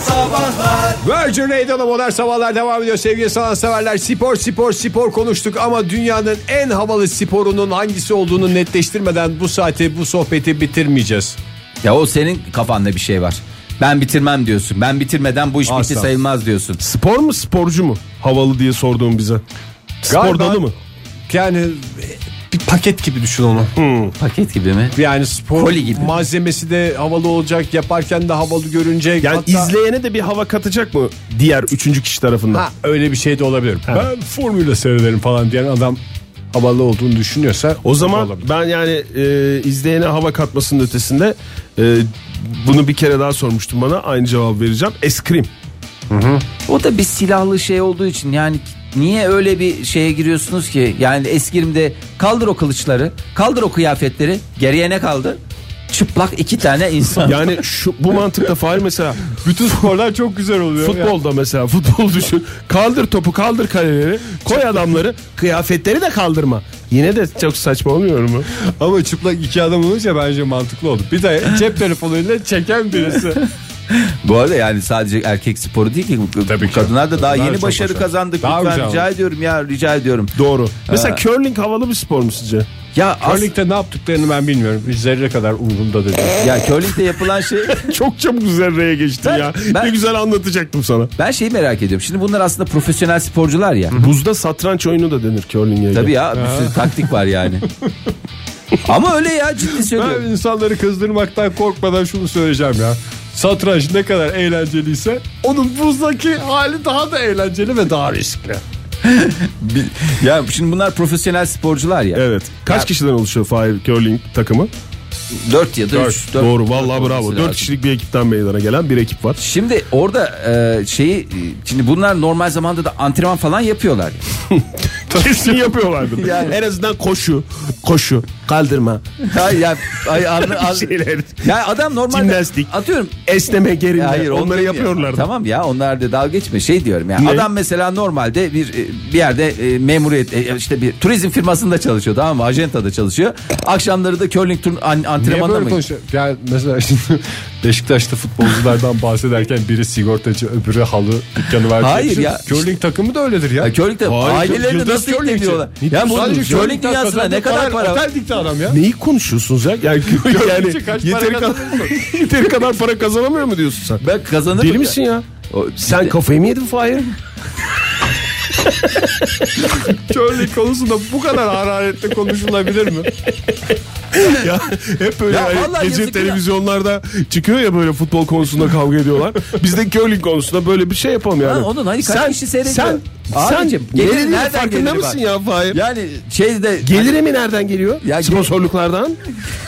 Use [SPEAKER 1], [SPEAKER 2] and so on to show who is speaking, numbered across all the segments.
[SPEAKER 1] Sabahlar
[SPEAKER 2] Virgin Radio'da modern sabahlar devam ediyor sevgili sanatseverler. Spor spor spor konuştuk ama dünyanın en havalı sporunun hangisi olduğunu netleştirmeden bu saati bu sohbeti bitirmeyeceğiz.
[SPEAKER 3] Ya o senin kafanda bir şey var. Ben bitirmem diyorsun. Ben bitirmeden bu iş bitti
[SPEAKER 2] Asla.
[SPEAKER 3] sayılmaz diyorsun.
[SPEAKER 4] Spor mu sporcu mu? Havalı diye sorduğun bize. Spor
[SPEAKER 2] Galiba-
[SPEAKER 4] dalı mı?
[SPEAKER 2] Yani e, bir paket gibi düşün onu.
[SPEAKER 3] Paket gibi mi?
[SPEAKER 2] Yani spor
[SPEAKER 3] Koli gibi.
[SPEAKER 2] malzemesi de havalı olacak yaparken de havalı görünecek.
[SPEAKER 4] Yani
[SPEAKER 2] Hatta-
[SPEAKER 4] izleyene de bir hava katacak mı diğer üçüncü kişi tarafından?
[SPEAKER 2] Ha, öyle bir şey de olabilir. Ben formüle seyrederim falan diyen adam havalı olduğunu düşünüyorsa
[SPEAKER 4] O zaman
[SPEAKER 2] olabilir.
[SPEAKER 4] ben yani e, izleyene hava katmasının ötesinde e, bunu bir kere daha sormuştum bana aynı cevap vereceğim. Eskrim.
[SPEAKER 3] O da bir silahlı şey olduğu için yani niye öyle bir şeye giriyorsunuz ki? Yani eskrimde kaldır o kılıçları, kaldır o kıyafetleri. Geriye ne kaldı? Çıplak iki tane insan.
[SPEAKER 4] Yani şu bu mantıkta Fahir mesela
[SPEAKER 2] bütün sporlar çok güzel oluyor.
[SPEAKER 4] futbolda mesela futbol düşün. Kaldır topu kaldır kaleleri koy adamları kıyafetleri de kaldırma. Yine de çok saçma olmuyor mu?
[SPEAKER 2] Ama çıplak iki adam olunca bence mantıklı oldu. Bir de cep telefonuyla çeken birisi.
[SPEAKER 3] Bu arada yani sadece erkek sporu değil ki.
[SPEAKER 2] Tabii ki.
[SPEAKER 3] Kadınlar da daha yeni
[SPEAKER 2] çok
[SPEAKER 3] başarı
[SPEAKER 2] başarılı.
[SPEAKER 3] kazandık.
[SPEAKER 2] Daha
[SPEAKER 3] Lütfen
[SPEAKER 2] güzel
[SPEAKER 3] rica ediyorum ya rica ediyorum.
[SPEAKER 4] Doğru. Mesela curling havalı bir spor mu sizce?
[SPEAKER 3] Ya as-
[SPEAKER 2] Örnekte ne yaptıklarını ben bilmiyorum. Biz zerre kadar umurumda dedi.
[SPEAKER 3] ya curling'de yapılan şey
[SPEAKER 4] Çok çabuk zerreye geçtin ya.
[SPEAKER 3] ben-
[SPEAKER 4] Ne güzel anlatacaktım sana.
[SPEAKER 3] ben şeyi merak ediyorum. Şimdi bunlar aslında profesyonel sporcular ya.
[SPEAKER 4] Buzda satranç oyunu da denir curling'e.
[SPEAKER 3] Tabii ya bir sürü taktik var yani. Ama öyle ya ciddi
[SPEAKER 2] Ben
[SPEAKER 3] söylüyorum.
[SPEAKER 2] insanları kızdırmaktan korkmadan şunu söyleyeceğim ya. Satranç ne kadar eğlenceliyse onun buzdaki hali daha da eğlenceli ve daha riskli.
[SPEAKER 3] Bir- ya şimdi bunlar profesyonel sporcular ya.
[SPEAKER 4] Evet. Kaç kişiden oluşuyor Fahir curling takımı?
[SPEAKER 3] 4 ya da 3.
[SPEAKER 4] Dört. Doğru vallahi bravo. 4 kişilik bir ekipten meydana gelen bir ekip var.
[SPEAKER 3] Şimdi orada e, şeyi e, şimdi bunlar normal zamanda da antrenman falan yapıyorlar.
[SPEAKER 4] Kesin yapıyorlardır.
[SPEAKER 3] Yani.
[SPEAKER 4] En azından koşu, koşu, kaldırma,
[SPEAKER 3] ya, ya, ay, anla- an-
[SPEAKER 4] şeyler,
[SPEAKER 3] ya adam normalde
[SPEAKER 4] Jimnastik.
[SPEAKER 3] atıyorum
[SPEAKER 4] esneme, gerilme
[SPEAKER 3] Ya E, hayır, onu
[SPEAKER 4] onları
[SPEAKER 3] demiyorum.
[SPEAKER 4] yapıyorlardı.
[SPEAKER 3] Tamam ya onlar da dalga geçme şey diyorum ya.
[SPEAKER 4] Ne?
[SPEAKER 3] Adam mesela normalde bir bir yerde e, memuriyet e, işte bir turizm firmasında çalışıyor tamam mı? Ajentada çalışıyor. Akşamları da curling turn an-
[SPEAKER 2] Niye
[SPEAKER 3] antrenmanına
[SPEAKER 2] böyle
[SPEAKER 3] mı?
[SPEAKER 2] konuşuyor? Yani mesela şimdi Beşiktaş'ta futbolculardan bahsederken biri sigortacı öbürü halı dükkanı var.
[SPEAKER 3] Hayır ya.
[SPEAKER 2] Curling takımı da öyledir ya.
[SPEAKER 3] Ya curling de
[SPEAKER 2] Hayır,
[SPEAKER 3] ailelerini
[SPEAKER 2] yıldız
[SPEAKER 3] nasıl ikna
[SPEAKER 2] curlingçi.
[SPEAKER 3] ediyorlar? Ya bu
[SPEAKER 2] Sadece
[SPEAKER 3] curling
[SPEAKER 2] curlingden
[SPEAKER 3] dünyasına ne
[SPEAKER 2] kazandığı
[SPEAKER 3] kadar para var?
[SPEAKER 2] Otel dikti adam ya.
[SPEAKER 4] Neyi konuşuyorsunuz ya? Yani, yani
[SPEAKER 2] Kaç para
[SPEAKER 4] yeteri, kadar, yeteri kadar para kazanamıyor mu diyorsun sen?
[SPEAKER 3] Ben kazanırım.
[SPEAKER 4] Deli
[SPEAKER 3] ya.
[SPEAKER 4] misin ya?
[SPEAKER 3] O-
[SPEAKER 4] Sen kafayı mı yedin Fahir?
[SPEAKER 2] Curling konusunda bu kadar hararetle konuşulabilir mi?
[SPEAKER 4] ya hep böyle
[SPEAKER 3] Ya
[SPEAKER 4] hani
[SPEAKER 3] vallahi
[SPEAKER 4] gece
[SPEAKER 3] yazık ya.
[SPEAKER 4] televizyonlarda çıkıyor ya böyle futbol konusunda kavga ediyorlar. Biz de curling konusunda böyle bir şey yapalım yani.
[SPEAKER 3] Ha, onun hani kaç
[SPEAKER 4] sen,
[SPEAKER 3] kişi seyrediyor?
[SPEAKER 4] Sen,
[SPEAKER 3] Abicim,
[SPEAKER 4] sen
[SPEAKER 3] geliri
[SPEAKER 4] gelirin
[SPEAKER 3] nereden
[SPEAKER 4] farkında
[SPEAKER 3] geliri
[SPEAKER 4] mısın
[SPEAKER 3] bak?
[SPEAKER 4] ya Fahir?
[SPEAKER 3] Yani şeyde
[SPEAKER 4] Geliri mi nereden geliyor?
[SPEAKER 3] Ya gel-
[SPEAKER 4] Sponsorluklardan.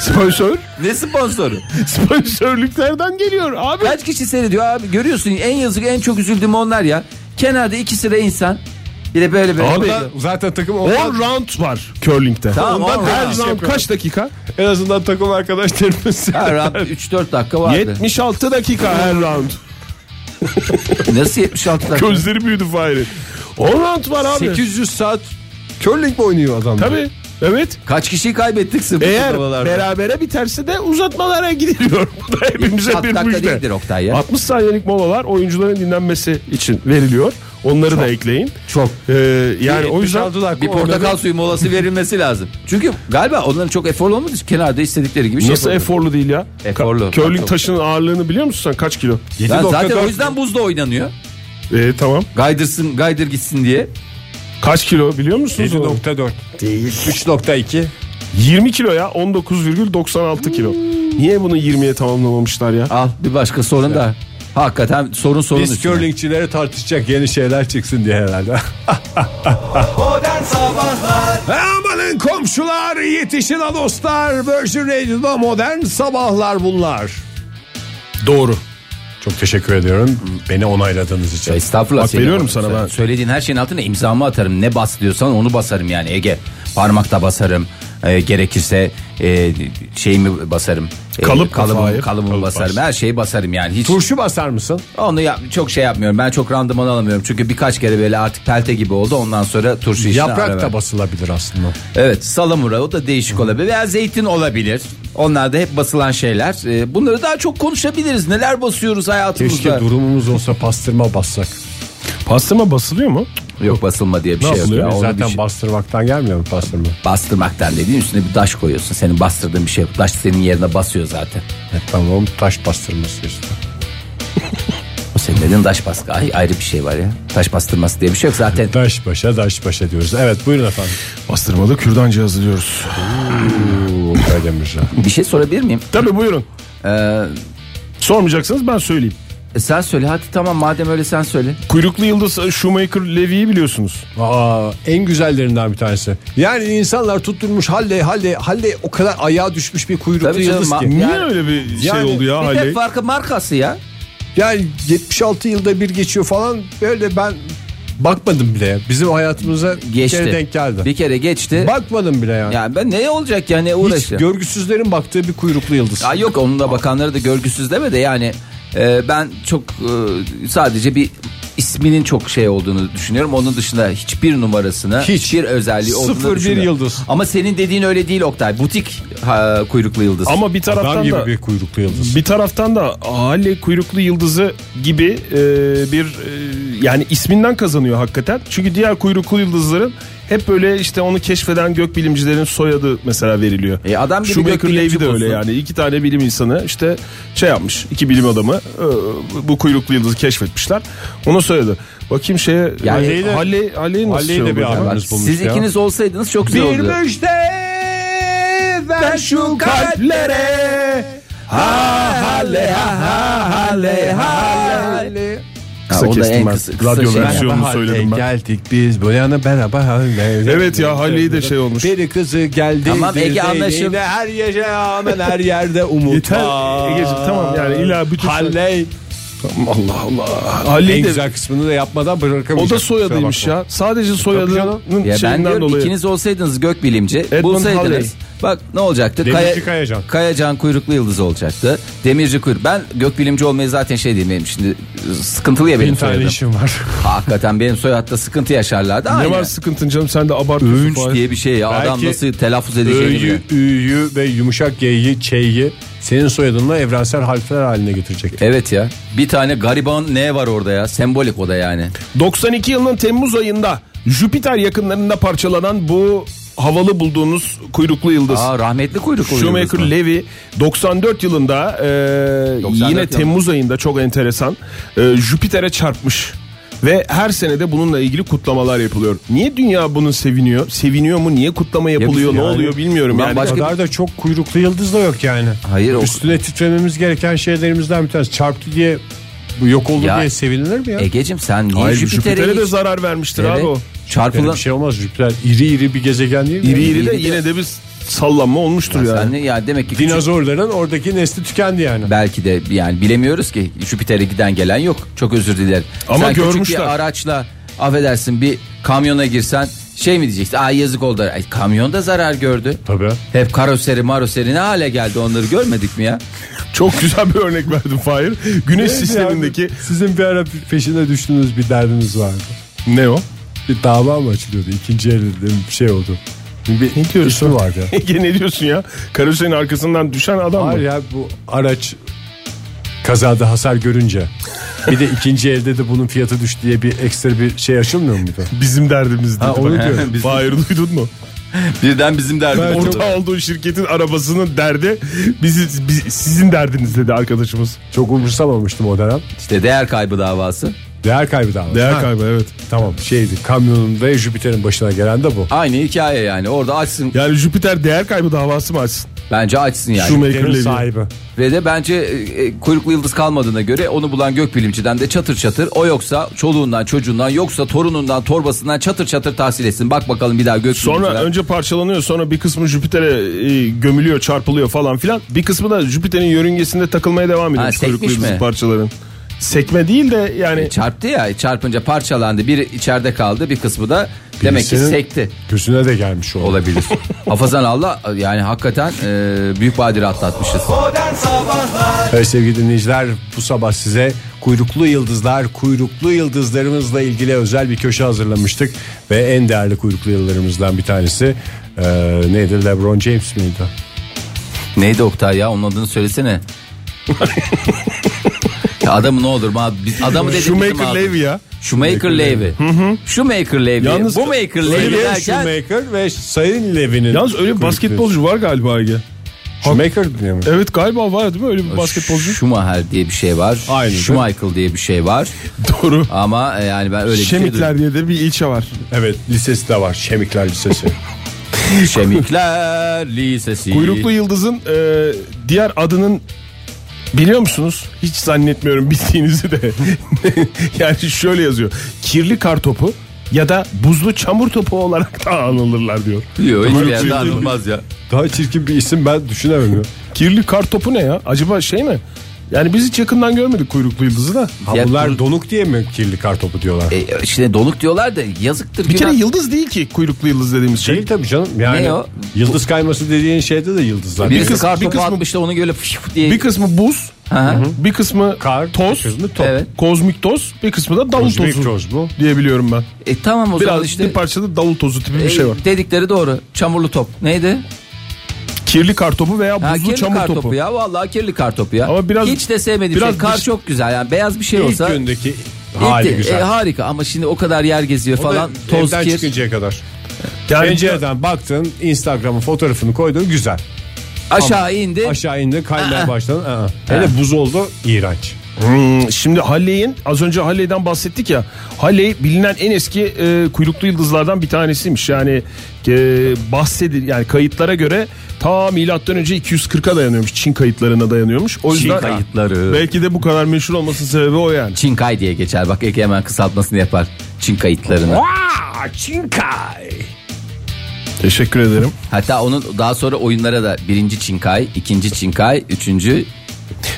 [SPEAKER 4] Sponsor.
[SPEAKER 3] hani ne sponsoru?
[SPEAKER 4] Sponsorluklardan geliyor abi.
[SPEAKER 3] Kaç kişi seyrediyor abi görüyorsun en yazık en çok üzüldüğüm onlar ya. Kenarda iki sıra insan. Bir de böyle böyle.
[SPEAKER 4] Abi,
[SPEAKER 2] Ondan zaten takım
[SPEAKER 4] 10
[SPEAKER 2] ondan,
[SPEAKER 4] round var curling'de.
[SPEAKER 3] Tamam,
[SPEAKER 4] Ondan
[SPEAKER 3] on
[SPEAKER 4] her
[SPEAKER 3] round.
[SPEAKER 4] round kaç dakika?
[SPEAKER 2] en azından takım arkadaşlarımız.
[SPEAKER 3] Her an 3-4 dakika vardı.
[SPEAKER 4] 76 dakika her round.
[SPEAKER 3] Nasıl 76 dakika?
[SPEAKER 4] Gözleri büyüdü Fahir'in. 10 round var abi.
[SPEAKER 2] 800 saat curling mi oynuyor adam?
[SPEAKER 4] Tabii. Evet.
[SPEAKER 3] Kaç kişiyi kaybettik sıfır
[SPEAKER 4] Eğer
[SPEAKER 3] turnuvalarda?
[SPEAKER 4] berabere biterse de uzatmalara gidiliyor. Bu da hepimize
[SPEAKER 3] Alt
[SPEAKER 4] bir
[SPEAKER 3] dakika
[SPEAKER 4] müjde.
[SPEAKER 3] değildir Oktay ya.
[SPEAKER 4] 60 saniyelik molalar oyuncuların dinlenmesi için veriliyor. Onları da ekleyin.
[SPEAKER 3] Çok.
[SPEAKER 4] Ee, yani o yüzden
[SPEAKER 3] Bir portakal suyu molası verilmesi lazım. Çünkü galiba onların çok eforlu olmadığı için kenarda istedikleri gibi şey
[SPEAKER 4] nasıl
[SPEAKER 3] yapabilir.
[SPEAKER 4] eforlu değil ya?
[SPEAKER 3] Eforlu.
[SPEAKER 4] Curling
[SPEAKER 3] Çok.
[SPEAKER 4] taşının ağırlığını biliyor musun sen? Kaç kilo?
[SPEAKER 3] Yani zaten o yüzden buzda oynanıyor.
[SPEAKER 4] Ee, tamam.
[SPEAKER 3] Gaydırsın, gaydır gitsin diye.
[SPEAKER 4] Kaç kilo biliyor musunuz? onu?
[SPEAKER 2] 7.4 değil. 3.2
[SPEAKER 4] 20 kilo ya. 19,96 kilo. Niye bunu 20'ye tamamlamamışlar ya?
[SPEAKER 3] Al bir başka sorun da. Hakikaten sorun sorun
[SPEAKER 2] Biz
[SPEAKER 3] üstüne.
[SPEAKER 2] curlingçilere tartışacak yeni şeyler çıksın diye herhalde.
[SPEAKER 1] Modern Sabahlar
[SPEAKER 2] Amanın komşular yetişin ha dostlar. Virgin Radio'da modern sabahlar bunlar. Doğru. Çok teşekkür ediyorum. Beni onayladığınız için.
[SPEAKER 3] Estağfurullah.
[SPEAKER 4] Bak
[SPEAKER 3] seni
[SPEAKER 4] veriyorum
[SPEAKER 3] yaparım.
[SPEAKER 4] sana ben.
[SPEAKER 3] Söylediğin her şeyin altına imzamı atarım. Ne bas diyorsan onu basarım yani Ege. Parmakta basarım. E, gerekirse e, şeyimi basarım. E,
[SPEAKER 4] Kalıp mı?
[SPEAKER 3] kalıbımı,
[SPEAKER 4] Hayır.
[SPEAKER 3] kalıbımı
[SPEAKER 4] Kalıp
[SPEAKER 3] basarım.
[SPEAKER 4] bas.
[SPEAKER 3] Her şeyi basarım yani. Hiç
[SPEAKER 2] Turşu basar mısın?
[SPEAKER 3] onu yap, çok şey yapmıyorum. Ben çok randıman alamıyorum. Çünkü birkaç kere böyle artık pelte gibi oldu. Ondan sonra turşu işine ara
[SPEAKER 2] Yaprak
[SPEAKER 3] verdim.
[SPEAKER 2] da basılabilir aslında.
[SPEAKER 3] Evet salamura o da değişik olabilir veya zeytin olabilir. Onlar da hep basılan şeyler. Ee, Bunları daha çok konuşabiliriz. Neler basıyoruz hayatımızda?
[SPEAKER 2] Keşke durumumuz olsa pastırma bassak.
[SPEAKER 4] Pastırma basılıyor mu?
[SPEAKER 3] Yok basılma diye bir
[SPEAKER 4] Ne
[SPEAKER 3] şey yok.
[SPEAKER 4] yapılıyor?
[SPEAKER 3] ya. Onu
[SPEAKER 2] Zaten
[SPEAKER 3] bir şey-
[SPEAKER 2] bastırmaktan gelmiyor mu pastırma?
[SPEAKER 3] bastırmaktan dediğin üstüne bir taş koyuyorsun. Senin bastırdığın bir şey yok. Taş senin yerine basıyor zaten.
[SPEAKER 2] E, tamam taş bastırması işte.
[SPEAKER 3] O senin dediğin taş baskı. Ay, ayrı bir şey var ya. Taş bastırması diye bir şey yok zaten.
[SPEAKER 2] Taş başa taş başa diyoruz. Evet buyurun efendim.
[SPEAKER 4] Bastırmalı kürdancı hazırlıyoruz.
[SPEAKER 2] Oo, Karademir'e.
[SPEAKER 3] bir şey sorabilir miyim?
[SPEAKER 4] Tabii buyurun.
[SPEAKER 3] Ee,
[SPEAKER 4] Sormayacaksınız ben söyleyeyim.
[SPEAKER 3] E, sen söyle hadi tamam madem öyle sen söyle.
[SPEAKER 4] Kuyruklu Yıldız Shoemaker Levy'yi biliyorsunuz.
[SPEAKER 2] Aa, en güzellerinden bir tanesi. Yani insanlar tutturmuş halde halde halde o kadar ayağa düşmüş bir kuyruklu
[SPEAKER 3] Tabii canım,
[SPEAKER 2] yıldız
[SPEAKER 3] ma-
[SPEAKER 2] ki.
[SPEAKER 4] Niye
[SPEAKER 3] Yani-
[SPEAKER 4] öyle bir şey
[SPEAKER 2] Yani
[SPEAKER 4] oldu ya
[SPEAKER 3] bir de
[SPEAKER 4] Haley?
[SPEAKER 3] farkı markası ya.
[SPEAKER 2] Yani 76 yılda bir geçiyor falan böyle ben bakmadım bile. Bizim hayatımıza
[SPEAKER 3] Geçti.
[SPEAKER 2] bir kere denk geldi.
[SPEAKER 3] Bir kere geçti.
[SPEAKER 2] Bakmadım bile yani.
[SPEAKER 3] Ya ben ne olacak ya ne
[SPEAKER 2] Hiç
[SPEAKER 3] uğraşacağım?
[SPEAKER 2] görgüsüzlerin baktığı bir kuyruklu yıldız.
[SPEAKER 3] Ya yok onun da bakanları da görgüsüz deme de yani e, ben çok e, sadece bir isminin çok şey olduğunu düşünüyorum. Onun dışında hiçbir numarasına,
[SPEAKER 2] Hiç.
[SPEAKER 3] hiçbir özelliği olduğunu
[SPEAKER 2] Sıfır bir
[SPEAKER 3] düşünmüyorum.
[SPEAKER 2] yıldız.
[SPEAKER 3] Ama senin dediğin öyle değil Oktay. Butik ha, kuyruklu yıldız.
[SPEAKER 4] Ama bir taraftan
[SPEAKER 2] Adam gibi
[SPEAKER 4] da
[SPEAKER 2] bir kuyruklu yıldız.
[SPEAKER 4] bir taraftan da Hale Kuyruklu Yıldızı gibi e, bir e, yani isminden kazanıyor hakikaten. Çünkü diğer kuyruklu yıldızların hep böyle işte onu keşfeden gökbilimcilerin soyadı mesela veriliyor.
[SPEAKER 3] E adam gibi
[SPEAKER 4] Shoemaker
[SPEAKER 3] gökbilimci
[SPEAKER 4] Levy de öyle
[SPEAKER 3] bulsun.
[SPEAKER 4] yani. iki tane bilim insanı işte şey yapmış. iki bilim adamı e, bu kuyruklu yıldızı keşfetmişler. Ona soyadı. Bakayım şeye
[SPEAKER 3] Yani-
[SPEAKER 4] Hale Hale Hale nasıl
[SPEAKER 2] Hale'yi
[SPEAKER 4] şey
[SPEAKER 2] de
[SPEAKER 4] oldu
[SPEAKER 2] bir
[SPEAKER 4] yani?
[SPEAKER 2] adam.
[SPEAKER 3] Bak,
[SPEAKER 2] bulmuş
[SPEAKER 3] siz
[SPEAKER 2] ya.
[SPEAKER 3] ikiniz olsaydınız çok güzel olurdu.
[SPEAKER 2] müjde ver şu
[SPEAKER 4] kalplere ha hale ha ha hale
[SPEAKER 3] Ha,
[SPEAKER 4] Kısa
[SPEAKER 3] o da
[SPEAKER 4] kestim
[SPEAKER 3] en
[SPEAKER 4] ben.
[SPEAKER 3] kısa, kısa
[SPEAKER 4] Radyo
[SPEAKER 3] şey.
[SPEAKER 4] versiyonu. Versiyonunu söyledim ben.
[SPEAKER 2] Geldik biz böyle yana beraber hale.
[SPEAKER 4] Evet ya Hale'yi de şey olmuş.
[SPEAKER 2] Biri kızı geldi.
[SPEAKER 3] Tamam,
[SPEAKER 2] bir
[SPEAKER 3] Ege
[SPEAKER 2] de
[SPEAKER 3] anlaşıldı.
[SPEAKER 2] yine Her gece hemen her yerde umut
[SPEAKER 4] Yeter,
[SPEAKER 2] var.
[SPEAKER 4] Egeciğim, tamam yani illa bütün-
[SPEAKER 2] Halley.
[SPEAKER 4] Allah Allah. Hale
[SPEAKER 2] En
[SPEAKER 4] de
[SPEAKER 2] güzel kısmını da yapmadan
[SPEAKER 4] o
[SPEAKER 2] bırakamayacak.
[SPEAKER 4] da soyadıymış ya. Sadece soyadının
[SPEAKER 3] Ya ben
[SPEAKER 4] şeyinden
[SPEAKER 3] diyorum
[SPEAKER 4] dolayı.
[SPEAKER 3] ikiniz olsaydınız gökbilimci
[SPEAKER 4] Edmund
[SPEAKER 3] bulsaydınız.
[SPEAKER 4] Halley.
[SPEAKER 3] Bak ne olacaktı?
[SPEAKER 2] Demirci Kayacan.
[SPEAKER 3] Kayacan kuyruklu yıldız olacaktı. Demirci kuyruk. Ben gökbilimci olmayı zaten şey diyeyim benim şimdi ıı, sıkıntılı ya benim
[SPEAKER 2] Bin tane
[SPEAKER 3] soyadım.
[SPEAKER 2] işim var.
[SPEAKER 3] Hakikaten benim soyadda sıkıntı yaşarlardı.
[SPEAKER 4] Ne
[SPEAKER 3] Aynen.
[SPEAKER 4] var sıkıntın canım sen de abartıyorsun.
[SPEAKER 3] Övünç
[SPEAKER 4] Fahir.
[SPEAKER 3] diye bir şey ya. Adam
[SPEAKER 2] Belki
[SPEAKER 3] nasıl telaffuz edeceğini
[SPEAKER 2] Ö'yü,
[SPEAKER 3] bilmiyor.
[SPEAKER 2] Ü'yü ve yumuşak G'yi, Ç'yi senin soyadınla evrensel harfler haline getirecek.
[SPEAKER 3] Evet ya. Bir tane gariban ne var orada ya? Sembolik o da yani.
[SPEAKER 4] 92 yılının Temmuz ayında Jüpiter yakınlarında parçalanan bu havalı bulduğunuz kuyruklu yıldız.
[SPEAKER 3] Aa rahmetli kuyruklu yıldız mı?
[SPEAKER 4] Shoemaker Levy 94 yılında e,
[SPEAKER 3] 94
[SPEAKER 4] yine
[SPEAKER 3] yılında.
[SPEAKER 4] Temmuz ayında çok enteresan e, Jüpiter'e çarpmış. Ve her senede bununla ilgili kutlamalar yapılıyor. Niye dünya bunu seviniyor? Seviniyor mu? Niye kutlama yapılıyor?
[SPEAKER 3] biz-
[SPEAKER 4] ne
[SPEAKER 3] yani-
[SPEAKER 4] oluyor bilmiyorum.
[SPEAKER 3] Ulan
[SPEAKER 4] Yani
[SPEAKER 2] O
[SPEAKER 3] başka-
[SPEAKER 2] kadar da çok kuyruklu yıldız da yok yani.
[SPEAKER 3] Hayır, o-
[SPEAKER 2] Üstüne titrememiz gereken şeylerimizden bir tanesi. Çarptı diye bu yok oldu
[SPEAKER 3] Ya- e,
[SPEAKER 2] diye sevinilir mi ya?
[SPEAKER 3] Egecim sen niye
[SPEAKER 4] Hayır,
[SPEAKER 3] Jüpiter'e,
[SPEAKER 4] Jüpiter'e de
[SPEAKER 3] hiç-
[SPEAKER 4] zarar vermiştir
[SPEAKER 3] Evet.
[SPEAKER 4] abi o.
[SPEAKER 2] Öyle
[SPEAKER 3] Çarpılan...
[SPEAKER 2] bir şey olmaz Jüpiter. İri iri bir gezegen değil mi?
[SPEAKER 4] İri iri de
[SPEAKER 3] İri de-
[SPEAKER 4] yine de bir sallanma olmuştur yani.
[SPEAKER 3] Sen ne- ya demek ki küçük-
[SPEAKER 2] Dinozorların oradaki nesli tükendi yani.
[SPEAKER 3] Belki de yani bilemiyoruz ki Jüpiter'e giden gelen yok. Çok özür dilerim.
[SPEAKER 4] Ama
[SPEAKER 3] Sen küçük
[SPEAKER 4] görmüşler.
[SPEAKER 3] bir araçla affedersin bir kamyona girsen şey mi diyeceksin? Aa yazık oldu. Ay, kamyon da zarar gördü.
[SPEAKER 2] Tabii.
[SPEAKER 3] Hep karoseri maroseri ne hale geldi onları görmedik mi ya?
[SPEAKER 4] Çok güzel bir örnek verdim Fahir. Güneş sistemindeki
[SPEAKER 2] sizin bir ara peşine düştüğünüz bir derdiniz vardı.
[SPEAKER 4] ne o?
[SPEAKER 2] Bir dava mı açılıyordu? İkinci elde bir şey oldu. Bir, ne diyorsun? vardı.
[SPEAKER 4] Ege ne diyorsun ya? Karoserin arkasından düşen adam
[SPEAKER 2] Hayır
[SPEAKER 4] mı?
[SPEAKER 2] ya bu araç kazada hasar görünce bir de ikinci elde de bunun fiyatı düştü diye bir ekstra bir şey açılmıyor muydu?
[SPEAKER 4] Bizim derdimiz dedi.
[SPEAKER 2] onu
[SPEAKER 4] bak.
[SPEAKER 2] diyorum.
[SPEAKER 4] Fahir duydun mu?
[SPEAKER 3] Birden bizim
[SPEAKER 2] Ben
[SPEAKER 3] derdimiz
[SPEAKER 2] çok-
[SPEAKER 3] oldu.
[SPEAKER 4] Orta olduğu şirketin arabasının derdi bizi, biz- sizin derdiniz dedi arkadaşımız.
[SPEAKER 2] Çok umursamamıştım o dönem.
[SPEAKER 3] İşte değer kaybı davası.
[SPEAKER 2] Değer kaybı davası.
[SPEAKER 4] Değer
[SPEAKER 2] Ha,
[SPEAKER 4] kaybı evet.
[SPEAKER 2] Tamam şeydi kamyonun ve Jüpiter'in başına gelen de bu.
[SPEAKER 3] Aynı hikaye yani orada açsın
[SPEAKER 4] Yani Jüpiter değer kaybı davası mı açsın?
[SPEAKER 3] bence açsın yani.
[SPEAKER 4] Şu
[SPEAKER 2] Jüpiter'in
[SPEAKER 4] Levy.
[SPEAKER 2] sahibi.
[SPEAKER 3] Ve de bence e, e, kuyruklu yıldız kalmadığına göre onu bulan gökbilimciden de çatır çatır o yoksa çoluğundan çocuğundan yoksa torunundan torbasından çatır çatır tahsil etsin. Bak bakalım bir daha gökbilimciden.
[SPEAKER 4] Sonra önce parçalanıyor sonra bir kısmı Jüpiter'e e, gömülüyor çarpılıyor falan filan. Bir kısmı da Jüpiter'in yörüngesinde takılmaya devam ediyor.
[SPEAKER 3] Ha, sekmiş mi?
[SPEAKER 4] parçaların. sekme değil de yani
[SPEAKER 3] Çarptı ya çarpınca parçalandı. Biri içeride kaldı bir kısmı da demek ki
[SPEAKER 2] Birisinin
[SPEAKER 3] sekti
[SPEAKER 2] Gözüne de gelmiş o.
[SPEAKER 3] olabilir. Hafazan Allah yani hakikaten e, büyük badire atlatmışız.
[SPEAKER 1] Modern Sabahlar
[SPEAKER 2] Evet sevgili dinleyiciler bu sabah size kuyruklu yıldızlar, kuyruklu yıldızlarımızla ilgili özel bir köşe hazırlamıştık. Ve en değerli kuyruklu yıldızlarımızdan bir tanesi e, neydi Lebron James miydi?
[SPEAKER 3] Neydi Oktay ya onun adını söylesene. ya adamı ne olur ma biz adamı dedik bizim
[SPEAKER 4] Shoemaker
[SPEAKER 3] abi.
[SPEAKER 4] Levy ya.
[SPEAKER 3] Shoemaker Levy. Shoemaker Levy.
[SPEAKER 4] Yalnız-
[SPEAKER 3] bu maker
[SPEAKER 2] Levin
[SPEAKER 3] Levy derken
[SPEAKER 2] Shoemaker ve Sayın Levin'in.
[SPEAKER 4] Yalnız öyle bir
[SPEAKER 2] kuyruklu-
[SPEAKER 4] basketbolcu var galiba Ege.
[SPEAKER 2] Shoemaker diye mi?
[SPEAKER 4] Evet galiba var değil mi öyle bir basketbolcu?
[SPEAKER 3] Schumacher diye bir şey var.
[SPEAKER 2] Aynen.
[SPEAKER 3] Schumacher diye bir şey var.
[SPEAKER 4] Doğru.
[SPEAKER 3] Ama e, yani ben öyle bir şey
[SPEAKER 4] Şemikler diye de bir ilçe var.
[SPEAKER 2] Evet lisesi de var. Şemikler Lisesi.
[SPEAKER 3] duydum. Şemikler Lisesi.
[SPEAKER 4] Kuyruklu Yıldız'ın e, diğer adının biliyor musunuz? Hiç zannetmiyorum bildiğinizi de. yani şöyle yazıyor. Kirli kar topu ya da buzlu çamur topu olarak da anılırlar diyor.
[SPEAKER 3] Yok hiçbir
[SPEAKER 4] Kuyruklu
[SPEAKER 3] yerde
[SPEAKER 4] Yıldız.
[SPEAKER 3] anılmaz ya.
[SPEAKER 2] Daha çirkin bir isim ben düşünemiyorum.
[SPEAKER 4] Kirli kar topu ne ya? Acaba şey mi? Yani biz hiç yakından görmedik kuyruklu yıldızı da.
[SPEAKER 2] Ha,
[SPEAKER 3] Ya
[SPEAKER 2] bunlar
[SPEAKER 3] bunu-
[SPEAKER 2] donuk diye mi kirli kartopu diyorlar?
[SPEAKER 3] E, işte donuk diyorlar da yazıktır.
[SPEAKER 4] Bir kere
[SPEAKER 3] günah.
[SPEAKER 4] yıldız değil ki kuyruklu yıldız dediğimiz şey.
[SPEAKER 2] Değil tabii canım. Yani
[SPEAKER 3] Ne o?
[SPEAKER 2] yıldız kayması dediğin şeyde de yıldızlar.
[SPEAKER 3] Birisi
[SPEAKER 4] kısmı-
[SPEAKER 3] kartopu
[SPEAKER 4] bir kısmı-
[SPEAKER 3] atmış da onu böyle fışıf diye.
[SPEAKER 4] Bir kısmı buz,
[SPEAKER 3] Aha.
[SPEAKER 4] bir kısmı
[SPEAKER 2] Şey- Kar,
[SPEAKER 4] toz,
[SPEAKER 2] bir kısmı top.
[SPEAKER 3] Evet.
[SPEAKER 4] kozmik toz, bir kısmı da davul
[SPEAKER 2] Kozmik
[SPEAKER 4] tozu
[SPEAKER 2] toz bu.
[SPEAKER 4] diyebiliyorum ben.
[SPEAKER 3] E, tamam o
[SPEAKER 4] Biraz
[SPEAKER 3] zaman işte.
[SPEAKER 4] bir parçada davul tozu tipi
[SPEAKER 2] Ee,
[SPEAKER 4] bir
[SPEAKER 3] e,
[SPEAKER 4] şey var.
[SPEAKER 3] Dedikleri doğru. Çamurlu top. Neydi?
[SPEAKER 4] Kirli kar topu veya
[SPEAKER 3] Ha,
[SPEAKER 4] buzlu
[SPEAKER 3] kirli
[SPEAKER 4] çamur
[SPEAKER 3] kartopu
[SPEAKER 4] topu.
[SPEAKER 3] ya vallahi kirli kartopu ya.
[SPEAKER 4] Ama biraz-
[SPEAKER 3] hiç de sevmediğim
[SPEAKER 4] biraz
[SPEAKER 3] şey. Kar
[SPEAKER 4] dış-
[SPEAKER 3] çok güzel yani beyaz bir şey
[SPEAKER 2] İlk
[SPEAKER 3] olsa.
[SPEAKER 2] gündeki
[SPEAKER 3] ilk
[SPEAKER 2] hali
[SPEAKER 3] de-
[SPEAKER 2] güzel.
[SPEAKER 3] e, harika ama şimdi o kadar yer geziyor falan
[SPEAKER 2] Evden-
[SPEAKER 3] toz
[SPEAKER 2] evden
[SPEAKER 3] kir.
[SPEAKER 2] çıkıncaya kadar.
[SPEAKER 4] Yani
[SPEAKER 2] Pencereden baktın Instagram'ın fotoğrafını koydun güzel.
[SPEAKER 3] Aşağı indi.
[SPEAKER 2] Aşağı indi kaymaya
[SPEAKER 3] E- Aa.
[SPEAKER 2] başladın. Aa. Hele buz oldu iğrenç.
[SPEAKER 4] Hmm, şimdi Halley'in az önce Halley'den bahsettik ya. Halley bilinen en eski e, kuyruklu yıldızlardan bir tanesiymiş. Yani e, bahsedir yani kayıtlara göre ta milattan önce 240'a dayanıyormuş. Çin kayıtlarına dayanıyormuş. O yüzden
[SPEAKER 3] kayıtları.
[SPEAKER 4] belki de bu kadar meşhur olmasının sebebi o yani.
[SPEAKER 3] Çinkay diye geçer. Bak Ege hemen kısaltmasını yapar. Çin kayıtlarını.
[SPEAKER 4] Aa, Çinkay. Teşekkür ederim.
[SPEAKER 3] Hatta onun daha sonra oyunlara da birinci Çinkay, ikinci Çinkay, üçüncü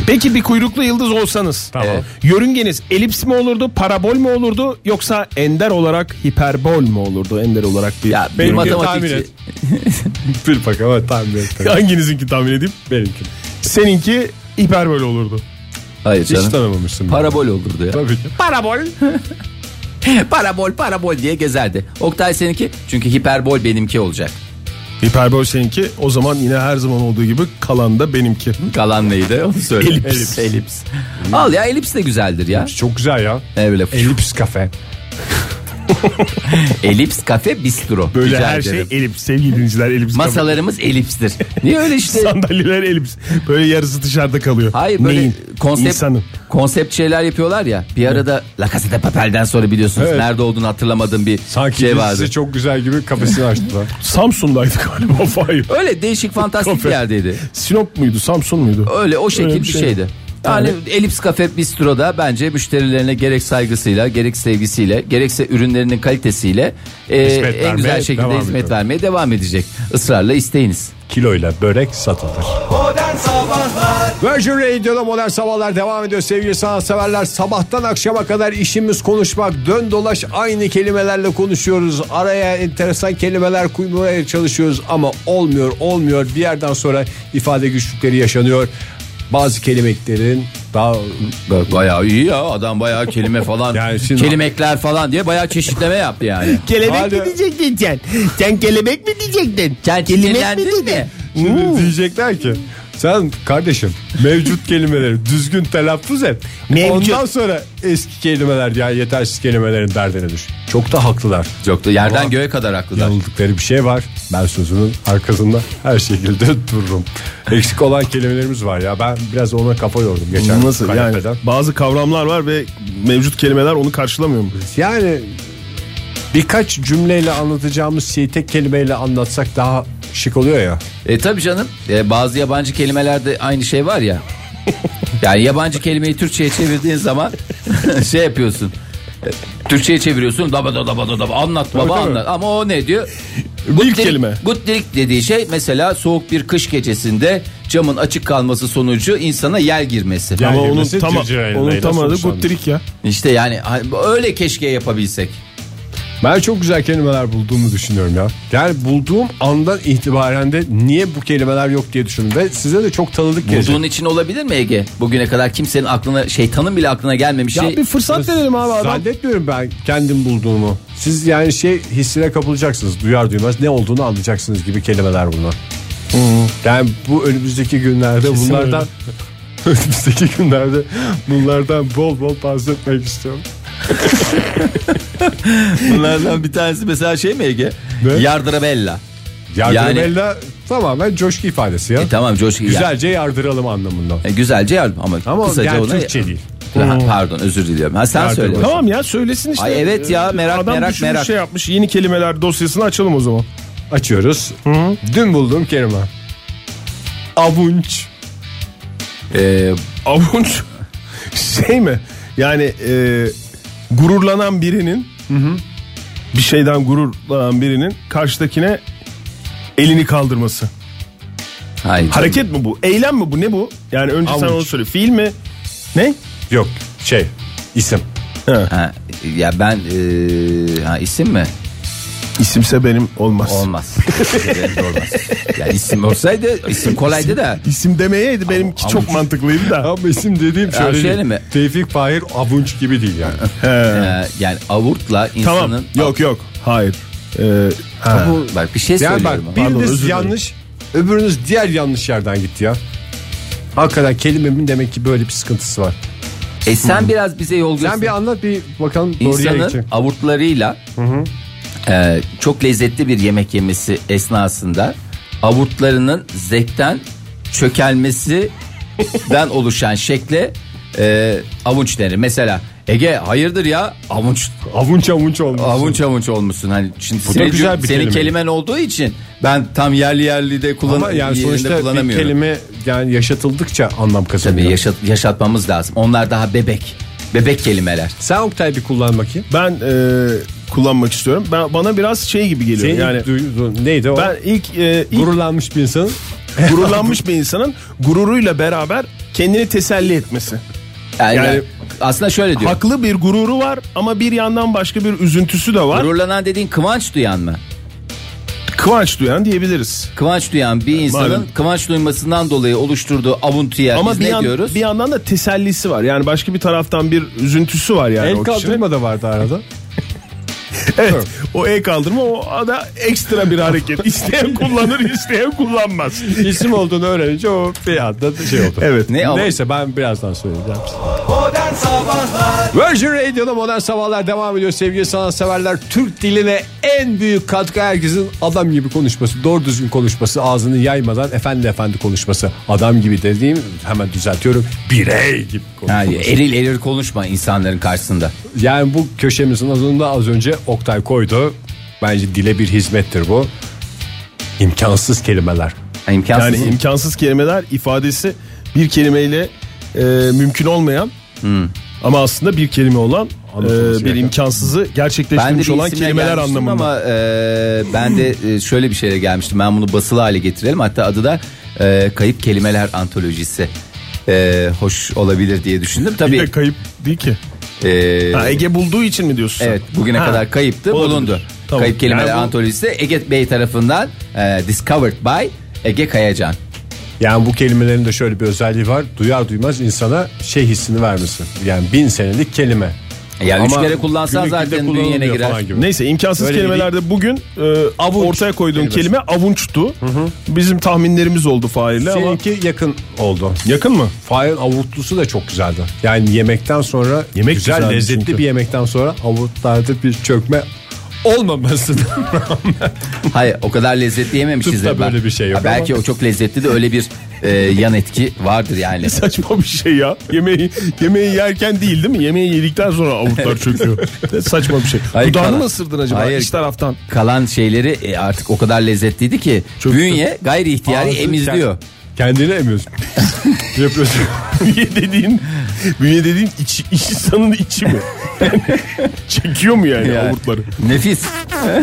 [SPEAKER 4] Peki bir kuyruklu yıldız olsanız.
[SPEAKER 2] Tamam.
[SPEAKER 4] Evet. Yörüngeniz elips mi olurdu, parabol mu olurdu yoksa ender olarak hiperbol mu olurdu? Ender olarak bir
[SPEAKER 3] ya bir
[SPEAKER 4] Benim-
[SPEAKER 2] tahmin
[SPEAKER 3] matematikçi.
[SPEAKER 2] et. Bir bakalım evet, tahmin ettim.
[SPEAKER 4] Hanginizinki tahmin edeyim?
[SPEAKER 2] Benimki.
[SPEAKER 4] Seninki hiperbol olurdu.
[SPEAKER 3] Hayır
[SPEAKER 2] Hiç
[SPEAKER 3] canım.
[SPEAKER 2] tanımamışsın.
[SPEAKER 3] Parabol olurdu ya.
[SPEAKER 2] Tabii ki.
[SPEAKER 3] Parabol. parabol parabol diye gezerdi. Oktay seninki çünkü hiperbol benimki olacak.
[SPEAKER 4] Hiperbol seninki o zaman yine her zaman olduğu gibi kalan da benimki.
[SPEAKER 3] Kalan neydi onu söyle.
[SPEAKER 4] Elips.
[SPEAKER 3] Elips. Al ya elips de güzeldir ya.
[SPEAKER 2] Çok güzel ya.
[SPEAKER 3] Ne böyle
[SPEAKER 2] Elips kafe.
[SPEAKER 3] elips kafe bistro.
[SPEAKER 4] Böyle
[SPEAKER 3] Rica
[SPEAKER 4] her
[SPEAKER 3] ederim.
[SPEAKER 4] şey elips sevgili dinleyiciler elips.
[SPEAKER 3] Masalarımız elipstir. Niye öyle işte?
[SPEAKER 4] Sandalyeler elips. Böyle yarısı dışarıda kalıyor.
[SPEAKER 3] Hayır böyle
[SPEAKER 4] Neyin?
[SPEAKER 3] konsept
[SPEAKER 4] İnsanın.
[SPEAKER 3] konsept şeyler yapıyorlar ya. Bir arada La Casa de Papel'den sonra biliyorsunuz
[SPEAKER 2] Evet.
[SPEAKER 3] nerede olduğunu hatırlamadığım bir
[SPEAKER 2] Sanki
[SPEAKER 3] şey
[SPEAKER 2] dizisi
[SPEAKER 3] vardı.
[SPEAKER 2] çok güzel gibi kafesini açtılar.
[SPEAKER 4] Samsun'daydı galiba Fahir.
[SPEAKER 3] Öyle değişik fantastik bir
[SPEAKER 4] Konfet.
[SPEAKER 3] yerdeydi.
[SPEAKER 4] Sinop muydu Samsun muydu?
[SPEAKER 3] Öyle o şekil
[SPEAKER 4] Öyle bir
[SPEAKER 3] bir
[SPEAKER 4] şey.
[SPEAKER 3] şeydi. Yani Elips Cafe Bistro'da bence müşterilerine gerek saygısıyla, gerek sevgisiyle, gerekse ürünlerinin kalitesiyle e,
[SPEAKER 2] Hizmet
[SPEAKER 3] en güzel
[SPEAKER 2] vermeye
[SPEAKER 3] şekilde
[SPEAKER 2] devam
[SPEAKER 3] hizmet
[SPEAKER 2] ediyor.
[SPEAKER 3] vermeye devam edecek. Israrla isteyiniz.
[SPEAKER 2] Kiloyla börek satılır.
[SPEAKER 1] Modern Sabahlar
[SPEAKER 2] Virgin Radio'da modern sabahlar devam ediyor sevgili sanatseverler. Sabahtan akşama kadar işimiz konuşmak. Dön dolaş aynı kelimelerle konuşuyoruz. Araya enteresan kelimeler koymaya çalışıyoruz ama olmuyor olmuyor. Bir yerden sonra ifade güçlükleri yaşanıyor. Bazı kelimelerin daha
[SPEAKER 3] Bayağı iyi ya adam bayağı kelime falan,
[SPEAKER 2] Yani şimdi-
[SPEAKER 3] kelimekler falan diye bayağı çeşitleme yaptı yani.
[SPEAKER 5] Kelebek
[SPEAKER 2] Hala-
[SPEAKER 5] mi diyecektin sen? Sen kelebek mi diyecektin?
[SPEAKER 3] Sen
[SPEAKER 5] mi
[SPEAKER 3] sinirlendin mi?
[SPEAKER 5] dedin?
[SPEAKER 2] Şimdi diyecekler ki sen kardeşim mevcut kelimeleri düzgün telaffuz et.
[SPEAKER 5] Mevcut.
[SPEAKER 2] Ondan sonra eski kelimeler yani yetersiz kelimelerin derdine düş. Çok da haklılar.
[SPEAKER 3] Yoktu yerden
[SPEAKER 2] Ama-
[SPEAKER 3] göğe kadar haklılar.
[SPEAKER 2] yanıldıkları bir şey var. Ben sözümün arkasında her şekilde dururum. Eksik olan kelimelerimiz var ya. Ben biraz ona kafa yordum geçen
[SPEAKER 4] Nasıl yani
[SPEAKER 2] kanepeden.
[SPEAKER 4] bazı kavramlar var ve mevcut kelimeler onu karşılamıyor mu?
[SPEAKER 2] Yani birkaç cümleyle anlatacağımız şeyi tek kelimeyle anlatsak daha şık oluyor ya.
[SPEAKER 3] E tabi canım E, bazı yabancı kelimelerde aynı şey var ya. Yani yabancı kelimeyi Türkçe'ye çevirdiğin zaman şey yapıyorsun. E, Türkçe'ye çeviriyorsun. Daba daba daba daba anlat baba
[SPEAKER 2] tabii.
[SPEAKER 3] anlat. Ama o ne diyor?
[SPEAKER 4] İlk kelime.
[SPEAKER 3] Gutlik dediği şey mesela soğuk bir kış gecesinde camın açık kalması sonucu insana yel girmesi.
[SPEAKER 4] Ama onun
[SPEAKER 6] gelmesi
[SPEAKER 4] tam,
[SPEAKER 6] Cüceyre'yle
[SPEAKER 4] onun tam adı
[SPEAKER 6] sonuçlandı.
[SPEAKER 4] Gutterik ya.
[SPEAKER 3] İşte yani hani öyle keşke yapabilsek.
[SPEAKER 2] Ben çok güzel kelimeler bulduğumu düşünüyorum ya. Yani bulduğum andan itibaren de niye bu kelimeler yok diye düşündüm. Ve size de çok tanıdık gelecek.
[SPEAKER 3] Bulduğun için olabilir mi Ege? Bugüne kadar kimsenin aklına şeytanın bile aklına gelmemiş şey.
[SPEAKER 4] bir fırsat verelim abi
[SPEAKER 2] Zannetmiyorum ben kendim bulduğumu. Siz yani şey hissine kapılacaksınız. Duyar duymaz ne olduğunu anlayacaksınız gibi kelimeler bunlar. Yani bu önümüzdeki günlerde bunlardan önümüzdeki günlerde bunlardan bol bol bahsetmek istiyorum.
[SPEAKER 3] Bunlardan bir tanesi mesela şey mi Ege?
[SPEAKER 2] Ne?
[SPEAKER 3] Yardırabella.
[SPEAKER 2] Yardırabella tamamen coşku ifadesi ya.
[SPEAKER 3] E tamam coşku. ya-
[SPEAKER 2] Güzelce yardıralım anlamında.
[SPEAKER 3] E, güzelce yardım ama,
[SPEAKER 2] Ama
[SPEAKER 3] kısaca
[SPEAKER 2] yani
[SPEAKER 3] ona...
[SPEAKER 2] Türkçe değil.
[SPEAKER 3] Ha, pardon özür diliyorum. Ha, sen söyle.
[SPEAKER 4] Tamam ya söylesin işte.
[SPEAKER 3] Ay evet ya,
[SPEAKER 4] Ee,
[SPEAKER 3] merak,
[SPEAKER 4] Adam
[SPEAKER 3] merak,
[SPEAKER 4] düşünmüş,
[SPEAKER 3] merak.
[SPEAKER 4] şey yapmış yeni kelimeler dosyasını açalım o zaman.
[SPEAKER 2] Açıyoruz. Dün bulduğum kelime. Avunç.
[SPEAKER 3] Ee,
[SPEAKER 4] Avunç şey mi? Yani e, gururlanan birinin bir şeyden gururlanan birinin karşıdakine elini kaldırması.
[SPEAKER 3] Şey hayır.
[SPEAKER 4] Hareket mi bu? Eylem mi bu? Ne bu? Yani önce sen
[SPEAKER 2] Avuç.
[SPEAKER 4] onu söyle. Fiil mi? Ne?
[SPEAKER 2] Yok şey isim.
[SPEAKER 3] Ha, ya ben ee, ha, isim mi?
[SPEAKER 4] İsimse benim olmaz.
[SPEAKER 3] Olmaz. Benim de olmaz. Ya isim olsaydı isim kolaydı da.
[SPEAKER 4] İsim demeyeydi benimki
[SPEAKER 3] Avuç.
[SPEAKER 4] çok mantıklıydı da.
[SPEAKER 2] Ama isim dediğim
[SPEAKER 3] Ya
[SPEAKER 2] şöyle,
[SPEAKER 3] şöyle
[SPEAKER 2] değil.
[SPEAKER 3] mi?
[SPEAKER 2] Tevfik Fahir Avunç gibi değil yani.
[SPEAKER 3] Ee, yani avurtla insanın
[SPEAKER 4] Tamam. Yok yok. Hayır. Ee, ha.
[SPEAKER 3] Bak bir şey
[SPEAKER 2] yani
[SPEAKER 3] söylüyorum.
[SPEAKER 2] bak
[SPEAKER 3] ama.
[SPEAKER 4] Pardon, özür
[SPEAKER 2] biriniz
[SPEAKER 4] dilerim.
[SPEAKER 2] yanlış öbürünüz diğer yanlış yerden gitti ya. Hakikaten kelimemin demek ki böyle bir sıkıntısı var.
[SPEAKER 3] E sen biraz bize yol göster.
[SPEAKER 2] Sen bir anlat bir bakalım doğruya
[SPEAKER 3] İnsanın
[SPEAKER 2] gidecek.
[SPEAKER 3] avurtlarıyla e, çok lezzetli bir yemek yemesi esnasında avurtlarının zevkten çökelmesinden oluşan şekle e, avuç denir. Mesela Ege hayırdır ya avuç
[SPEAKER 2] Avunç avunç olmuş.
[SPEAKER 3] avuç avuç olmuşsun. Hani şimdi
[SPEAKER 2] da
[SPEAKER 3] senin,
[SPEAKER 2] güzel bir
[SPEAKER 3] senin
[SPEAKER 2] kelime.
[SPEAKER 3] kelimen olduğu için ben tam yerli yerli de kullan
[SPEAKER 2] Ama yani
[SPEAKER 3] yerinde
[SPEAKER 2] sonuçta bir
[SPEAKER 3] kullanamıyorum.
[SPEAKER 2] kelime yani yaşatıldıkça anlam kazanıyor.
[SPEAKER 3] Tabii yaşat, yaşatmamız lazım. Onlar daha bebek. Bebek kelimeler.
[SPEAKER 2] Sen Oktay bir kullan bakayım.
[SPEAKER 4] Ben e, kullanmak istiyorum. Ben bana biraz şey gibi geliyor.
[SPEAKER 2] Senin
[SPEAKER 4] yani
[SPEAKER 2] yani, duyduğun neydi o?
[SPEAKER 4] ben ilk, e, ilk
[SPEAKER 2] Gururlanmış bir insanın
[SPEAKER 4] gururlanmış bir insanın gururuyla beraber kendini teselli etmesi.
[SPEAKER 3] Yani,
[SPEAKER 4] Yani-
[SPEAKER 3] aslında şöyle diyor.
[SPEAKER 4] Haklı bir gururu var ama bir yandan başka bir üzüntüsü de var.
[SPEAKER 3] Gururlanan dediğin kıvanç duyan mı?
[SPEAKER 4] Kıvanç duyan diyebiliriz.
[SPEAKER 3] Kıvanç duyan bir insanın
[SPEAKER 4] malum.
[SPEAKER 3] kıvanç duymasından dolayı oluşturduğu avuntuya
[SPEAKER 4] Ama
[SPEAKER 3] biz
[SPEAKER 4] bir,
[SPEAKER 3] ne
[SPEAKER 4] yan-
[SPEAKER 3] diyoruz?
[SPEAKER 4] bir yandan da tesellisi var. Yani başka bir taraftan bir üzüntüsü var yani
[SPEAKER 2] el
[SPEAKER 4] o kişinin.
[SPEAKER 2] kaldırma da vardı arada.
[SPEAKER 4] Evet. O el kaldırma o da ekstra bir hareket. İsteyen kullanır, isteyen kullanmaz.
[SPEAKER 2] İsim olduğunu öğrenince o bir anda şey oldu.
[SPEAKER 4] Evet.
[SPEAKER 3] Ne avun-
[SPEAKER 2] Neyse ben birazdan söyleyeceğim.
[SPEAKER 1] Modern Sabahlar
[SPEAKER 2] Virgin Radio'da modern sabahlar devam ediyor sevgili sanatseverler. Türk diline en büyük katkı herkesin adam gibi konuşması, doğru düzgün konuşması, ağzını yaymadan efendi efendi konuşması. Adam gibi dediğim hemen düzeltiyorum. Birey gibi konuşması.
[SPEAKER 3] Yani eril eril konuşma insanların karşısında.
[SPEAKER 2] Yani bu köşemizin adını da az önce Oktay koydu. Bence dile bir hizmettir bu. İmkansız kelimeler.
[SPEAKER 3] Yani imkansız.
[SPEAKER 4] Yani imkansız kelimeler ifadesi bir kelimeyle e, mümkün olmayan
[SPEAKER 3] Hmm.
[SPEAKER 4] ama aslında bir kelime olan e,
[SPEAKER 2] Anlatılması
[SPEAKER 4] bir
[SPEAKER 2] gereken.
[SPEAKER 4] imkansızı
[SPEAKER 3] ben de
[SPEAKER 4] gerçekleştirmiş
[SPEAKER 3] bir
[SPEAKER 4] olan
[SPEAKER 3] isimle
[SPEAKER 4] kelimeler
[SPEAKER 3] gelmiştim
[SPEAKER 4] anlamında.
[SPEAKER 3] Ama e, ben de e, şöyle bir şeyle gelmiştim. Ben bunu basılı hale getirelim. Hatta adı da e, Kayıp Kelimeler Antolojisi. E, hoş olabilir diye düşündüm.
[SPEAKER 4] Bir de
[SPEAKER 3] Tabii
[SPEAKER 4] kayıp değil ki.
[SPEAKER 3] e,
[SPEAKER 4] Ha, Ege bulduğu için mi diyorsun? sen?
[SPEAKER 3] Evet bugüne
[SPEAKER 4] Ha,
[SPEAKER 3] kadar kayıptı
[SPEAKER 4] olabilir.
[SPEAKER 3] bulundu.
[SPEAKER 4] Tamam.
[SPEAKER 3] Kayıp kelimeler
[SPEAKER 4] Yani bu-
[SPEAKER 3] antolojisi Ege Bey tarafından e, discovered by Ege Kayacan.
[SPEAKER 2] Yani bu kelimelerin de şöyle bir özelliği var. Duyar duymaz insana şey hissini vermesi. Yani bin senelik kelime.
[SPEAKER 3] E Yani üç
[SPEAKER 2] Ama
[SPEAKER 3] kere kullansan
[SPEAKER 2] günlük
[SPEAKER 3] zaten
[SPEAKER 2] dilde
[SPEAKER 3] bünyene
[SPEAKER 2] kullanılmıyor
[SPEAKER 3] girer.
[SPEAKER 2] falan gibi.
[SPEAKER 4] Neyse imkansız
[SPEAKER 2] Öyle
[SPEAKER 4] kelimelerde bugün e, ortaya koyduğun
[SPEAKER 2] kelimesi.
[SPEAKER 4] kelime avunçtu. Bizim tahminlerimiz oldu Fahir'le ama
[SPEAKER 2] Seninki yakın oldu.
[SPEAKER 4] yakın mı?
[SPEAKER 2] Fahir avutlusu da çok güzeldi. Yani yemekten sonra
[SPEAKER 4] Yemek
[SPEAKER 2] güzel
[SPEAKER 4] güzeldi
[SPEAKER 2] lezzetli
[SPEAKER 4] çünkü.
[SPEAKER 2] bir yemekten sonra avutlarda bir çökme olmamasına rağmen.
[SPEAKER 3] Hayır o kadar lezzetli yememişiz.
[SPEAKER 2] Tıpta
[SPEAKER 3] de ben.
[SPEAKER 2] böyle bir şey yok
[SPEAKER 3] Ha, Belki o çok lezzetli de öyle bir e, yan etki vardır yani.
[SPEAKER 4] Saçma bir şey ya. Yemeği yemeği yerken değil değil mi? Yemeği yedikten sonra avutlar çöküyor. Saçma bir şey.
[SPEAKER 3] Hayır,
[SPEAKER 4] Dudağını
[SPEAKER 3] kalan-
[SPEAKER 4] mı ısırdın acaba
[SPEAKER 3] Hayır.
[SPEAKER 4] iç taraftan?
[SPEAKER 3] Kalan şeyleri e, artık o kadar lezzetliydi ki bünye gayri ihtiyari
[SPEAKER 2] Ağzı
[SPEAKER 3] emizliyor.
[SPEAKER 2] Kendini emiyorsun. Yapıyorsun.
[SPEAKER 4] bünye dediğin, bünye dediğin iç, insanın içi mi? Çekiyor mu yani,
[SPEAKER 3] Yani.
[SPEAKER 4] avurtları?
[SPEAKER 3] Nefis.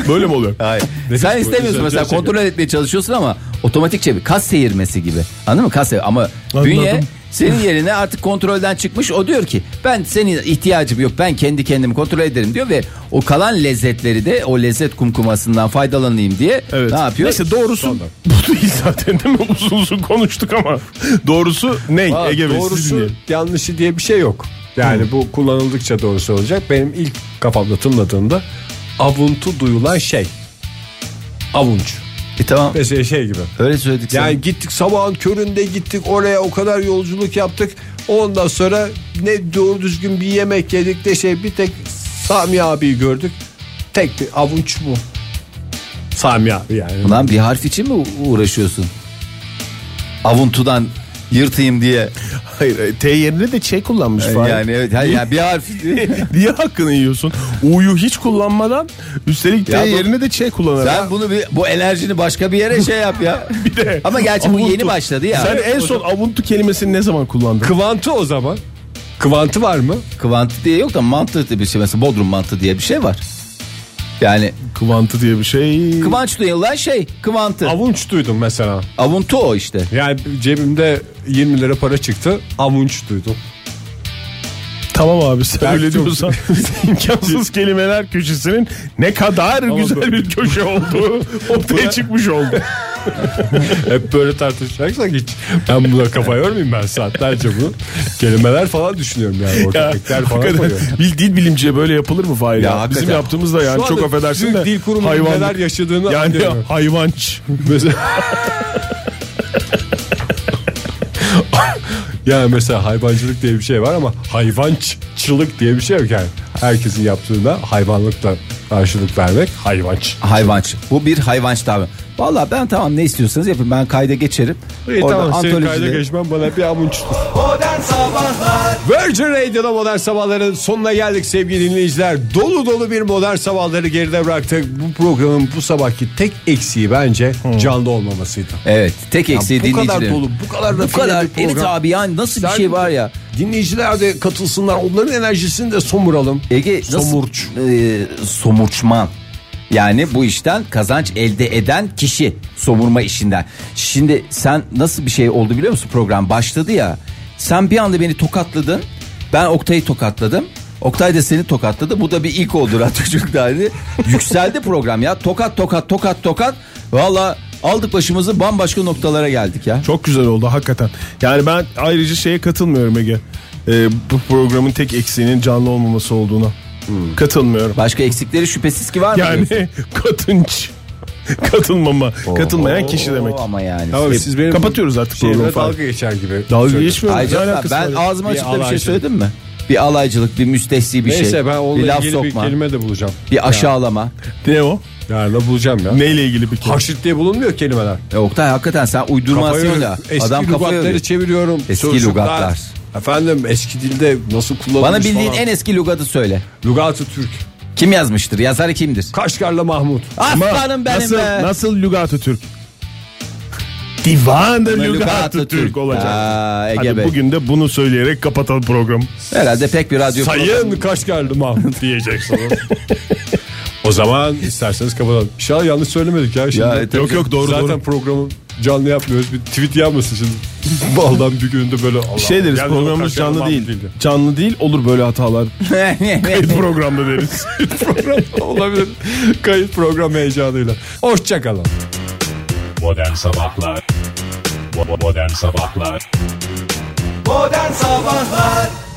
[SPEAKER 4] Böyle mi oluyor?
[SPEAKER 3] Hayır. Sen istemiyorsun mesela
[SPEAKER 4] Güzel
[SPEAKER 3] kontrol etmeye çalışıyorsun ama otomatik çevir. Kas seyirmesi gibi. Anladın mı? Kas seyir. Ama bünye senin yerine artık kontrolden çıkmış. O diyor ki ben senin ihtiyacım yok. Ben kendi kendimi kontrol ederim diyor ve o kalan lezzetleri de o lezzet kumkumasından faydalanayım diye
[SPEAKER 4] Evet.
[SPEAKER 3] ne yapıyor?
[SPEAKER 4] Neyse doğrusu bu değil zaten değil mi? Uzun uzun konuştuk ama. Doğrusu ne
[SPEAKER 2] Aa,
[SPEAKER 4] Ege Bey? siz
[SPEAKER 2] doğrusu
[SPEAKER 4] dinleyin.
[SPEAKER 2] yanlışı diye bir şey yok. Yani bu kullanıldıkça doğrusu olacak. Benim ilk kafamda tınladığımda avuntu duyulan şey. Avunç.
[SPEAKER 3] E tamam.
[SPEAKER 2] Mesela şey gibi.
[SPEAKER 3] Öyle söyledik. sana.
[SPEAKER 2] Yani gittik sabahın köründe gittik oraya o kadar yolculuk yaptık. Ondan sonra ne doğru düzgün bir yemek yedik de şey bir tek Sami abiyi gördük. Tek bir avunç mu? Sami abi yani.
[SPEAKER 3] Ulan bir harf için mi u- uğraşıyorsun? Avuntudan yırtayım diye.
[SPEAKER 4] Hayır, hayır, T yerine de Ç kullanmış falan.
[SPEAKER 3] Yani evet hayır, yani bir harf.
[SPEAKER 4] Niye hakkını yiyorsun? U'yu hiç kullanmadan üstelik T
[SPEAKER 3] Ya bu-
[SPEAKER 4] yerine de Ç kullanarak.
[SPEAKER 3] Sen bunu bir, bu enerjini başka bir yere şey yap ya.
[SPEAKER 4] Bir de
[SPEAKER 3] Ama gerçi bu
[SPEAKER 4] avuntu.
[SPEAKER 3] yeni başladı ya.
[SPEAKER 4] Sen en son avuntu kelimesini ne zaman kullandın?
[SPEAKER 2] Kıvantı o zaman. Kıvantı var mı?
[SPEAKER 3] Kıvantı diye yok da mantı diye bir şey. Mesela Bodrum mantı diye bir şey var. Yani
[SPEAKER 4] Kıvantı diye bir şey.
[SPEAKER 3] kıvanç duyulan şey kıvantı.
[SPEAKER 2] Avunç duydum mesela.
[SPEAKER 3] Avuntu o işte.
[SPEAKER 2] Yani cebimde 20 lira para çıktı. Avunç duydum.
[SPEAKER 4] Tamam abi sen
[SPEAKER 2] Belki
[SPEAKER 4] öyle
[SPEAKER 2] çok-
[SPEAKER 4] diyorsan imkansız kelimeler köşesinin ne kadar güzel bir köşe olduğu ortaya çıkmış oldu.
[SPEAKER 2] Hep böyle tartışacaksak hiç. Ben buna kafa yormayayım ben saatlerce bunu. Kelimeler falan düşünüyorum yani. Ortaklıklar falan
[SPEAKER 4] Hakikaten
[SPEAKER 2] koyuyorum.
[SPEAKER 4] bir dil bilimciye böyle yapılır mı Fahir?
[SPEAKER 3] Ya
[SPEAKER 4] Ya,
[SPEAKER 3] hakikaten.
[SPEAKER 4] Bizim yaptığımız da yani
[SPEAKER 2] Şu
[SPEAKER 4] çok
[SPEAKER 2] anda
[SPEAKER 4] affedersin
[SPEAKER 2] Türk
[SPEAKER 4] de
[SPEAKER 2] Dil Kurumu'nun
[SPEAKER 4] hayvanlık.
[SPEAKER 2] neler yaşadığını
[SPEAKER 4] yani
[SPEAKER 2] anlıyorum.
[SPEAKER 4] hayvanç.
[SPEAKER 2] Mesela... yani mesela hayvancılık diye bir şey var ama hayvanççılık diye bir şey yok yani. Herkesin yaptığına hayvanlıkla karşılık vermek hayvanç.
[SPEAKER 3] Hayvanç. Bu bir hayvanç tabi. Vallahi ben tamam ne istiyorsanız yapın. Ben kayda geçerim. Orada antolojide-
[SPEAKER 2] geçmem bana bir amunçtur.
[SPEAKER 1] Modern Sabahlar
[SPEAKER 2] Virgin Radio'da Modern Sabahların sonuna geldik sevgili dinleyiciler. Dolu dolu bir Modern Sabahları geride bıraktık. Bu programın bu sabahki tek eksiği bence canlı olmamasıydı.
[SPEAKER 3] Evet. Tek eksiği
[SPEAKER 2] bu kadar
[SPEAKER 3] dinleyicilerin.
[SPEAKER 2] dolu, bu kadar
[SPEAKER 3] bu
[SPEAKER 2] rafine
[SPEAKER 3] kadar
[SPEAKER 2] bir program.
[SPEAKER 3] Elit abi yani nasıl bir
[SPEAKER 2] Sen-
[SPEAKER 3] şey var ya.
[SPEAKER 2] Dinleyiciler de katılsınlar. Onların enerjisini de somuralım.
[SPEAKER 3] Ege nasıl-
[SPEAKER 2] Somurç.
[SPEAKER 3] Ee, somurçman. Yani bu işten kazanç elde eden kişi somurma işinden. Şimdi sen nasıl bir şey oldu biliyor musun program başladı ya. Sen bir anda beni tokatladın. Ben Oktay'ı tokatladım. Oktay da seni tokatladı. Bu da bir ilk oldu radyoculuk tarihi. Yükseldi program ya. Tokat tokat tokat tokat. Valla aldık başımızı bambaşka noktalara geldik ya.
[SPEAKER 4] Çok güzel oldu hakikaten. Yani ben ayrıca şeye katılmıyorum Ege. Ee, bu programın tek eksiğinin canlı olmaması olduğuna.
[SPEAKER 3] Hmm.
[SPEAKER 4] Katılmıyorum.
[SPEAKER 3] Başka eksikleri şüphesiz ki var mı? diyorsun?
[SPEAKER 4] Yani katınç. Katılmama. Katılmayan kişi
[SPEAKER 3] Oo,
[SPEAKER 4] demek.
[SPEAKER 3] Ama yani.
[SPEAKER 2] Tamam, siz benim
[SPEAKER 4] Kapatıyoruz artık programı
[SPEAKER 2] Şeyime
[SPEAKER 4] falan.
[SPEAKER 2] dalga geçer gibi.
[SPEAKER 4] Dalga
[SPEAKER 2] Söyledim.
[SPEAKER 4] geçmiyorum. Ne
[SPEAKER 3] Ayrıca
[SPEAKER 4] alakası
[SPEAKER 3] ben
[SPEAKER 4] var?
[SPEAKER 3] ağzıma açıp da bir şey
[SPEAKER 2] alaycılık.
[SPEAKER 3] söyledim mi? Bir alaycılık, bir müstehsi bir
[SPEAKER 2] Neyse
[SPEAKER 3] şey.
[SPEAKER 2] ben onunla
[SPEAKER 3] bir laf
[SPEAKER 2] ilgili bir
[SPEAKER 3] sokma, bir,
[SPEAKER 2] kelime de bulacağım.
[SPEAKER 3] aşağılama.
[SPEAKER 4] Ne o?
[SPEAKER 2] Yani da bulacağım ya.
[SPEAKER 4] Neyle ilgili bir kelime?
[SPEAKER 2] Haşit diye bulunmuyor kelimeler.
[SPEAKER 3] E Oktay hakikaten sen uydurmasıyla
[SPEAKER 2] eski
[SPEAKER 3] adam kafayı
[SPEAKER 2] lugatları
[SPEAKER 3] yoruyor.
[SPEAKER 2] çeviriyorum.
[SPEAKER 3] Eski
[SPEAKER 2] Sözcükler.
[SPEAKER 3] lugatlar.
[SPEAKER 2] Efendim eski dilde nasıl kullanılmış
[SPEAKER 3] Bana bildiğin
[SPEAKER 2] falan.
[SPEAKER 3] en eski lugatı söyle.
[SPEAKER 2] Lugatı Türk.
[SPEAKER 3] Kim yazmıştır? Yazarı kimdir?
[SPEAKER 2] Kaşgarlı Mahmut.
[SPEAKER 4] Ama
[SPEAKER 3] Aslanım benim
[SPEAKER 4] nasıl,
[SPEAKER 3] be.
[SPEAKER 4] Nasıl Lügatı Türk? Divan
[SPEAKER 3] Bana
[SPEAKER 4] Lügatı Türk olacak.
[SPEAKER 3] Aa, Ege
[SPEAKER 4] Hadi
[SPEAKER 3] Bey.
[SPEAKER 4] bugün de bunu söyleyerek kapatalım programı.
[SPEAKER 3] Herhalde pek bir radyo programı-
[SPEAKER 2] Sayın Kaşgarlı Mahmut diyeceksiniz. o zaman isterseniz kapatalım. İnşallah yanlış söylemedik ya. Şimdi.
[SPEAKER 3] Ya, e, tabii
[SPEAKER 2] yok yok doğru Zaten
[SPEAKER 4] doğru.
[SPEAKER 2] programı canlı yapmıyoruz. Bir tweet yanmasın şimdi. Baldan bir günde böyle. Allah
[SPEAKER 4] Şey deriz
[SPEAKER 2] Allah. Yalnız o
[SPEAKER 4] programımız
[SPEAKER 2] Kaşgarlı
[SPEAKER 4] canlı
[SPEAKER 2] Mahmut
[SPEAKER 4] değil. Canlı değil olur böyle hatalar. Kayıt programda deriz.
[SPEAKER 2] Olabilir. Kayıt program heyecanıyla. Hoşçakalın.
[SPEAKER 6] Modern Sabahlar Bo- Modern Sabahlar
[SPEAKER 1] Modern Sabahlar